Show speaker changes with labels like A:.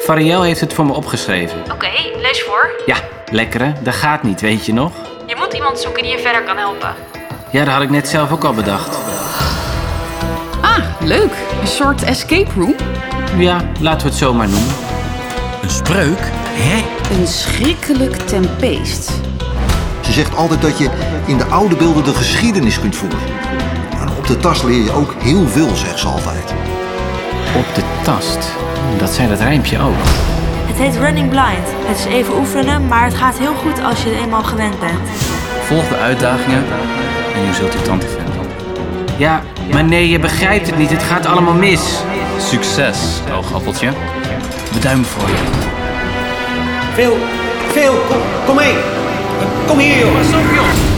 A: Fariel heeft het voor me opgeschreven.
B: Oké, lees voor.
A: Ja, lekkere, dat gaat niet, weet je nog?
B: Je moet iemand zoeken die je verder kan helpen.
A: Ja, dat had ik net zelf ook al bedacht.
C: Ah, leuk. Een soort escape room.
A: Ja, laten we het zomaar noemen.
D: Een spreuk? Hè?
E: Een schrikkelijk tempeest.
F: Ze zegt altijd dat je in de oude beelden de geschiedenis kunt voelen. En op de tas leer je ook heel veel, zegt ze altijd.
A: Op de tast. Dat zei dat rijmpje ook.
G: Het heet Running Blind. Het is even oefenen, maar het gaat heel goed als je het eenmaal gewend bent.
H: Volg de uitdagingen en je zult uw tante vinden.
A: Ja, maar nee, je begrijpt het niet. Het gaat allemaal mis.
H: Succes, oogappeltje. We duimen voor je.
I: Veel, veel, kom, kom mee. Kom hier, jongens.
A: Pas op, joh.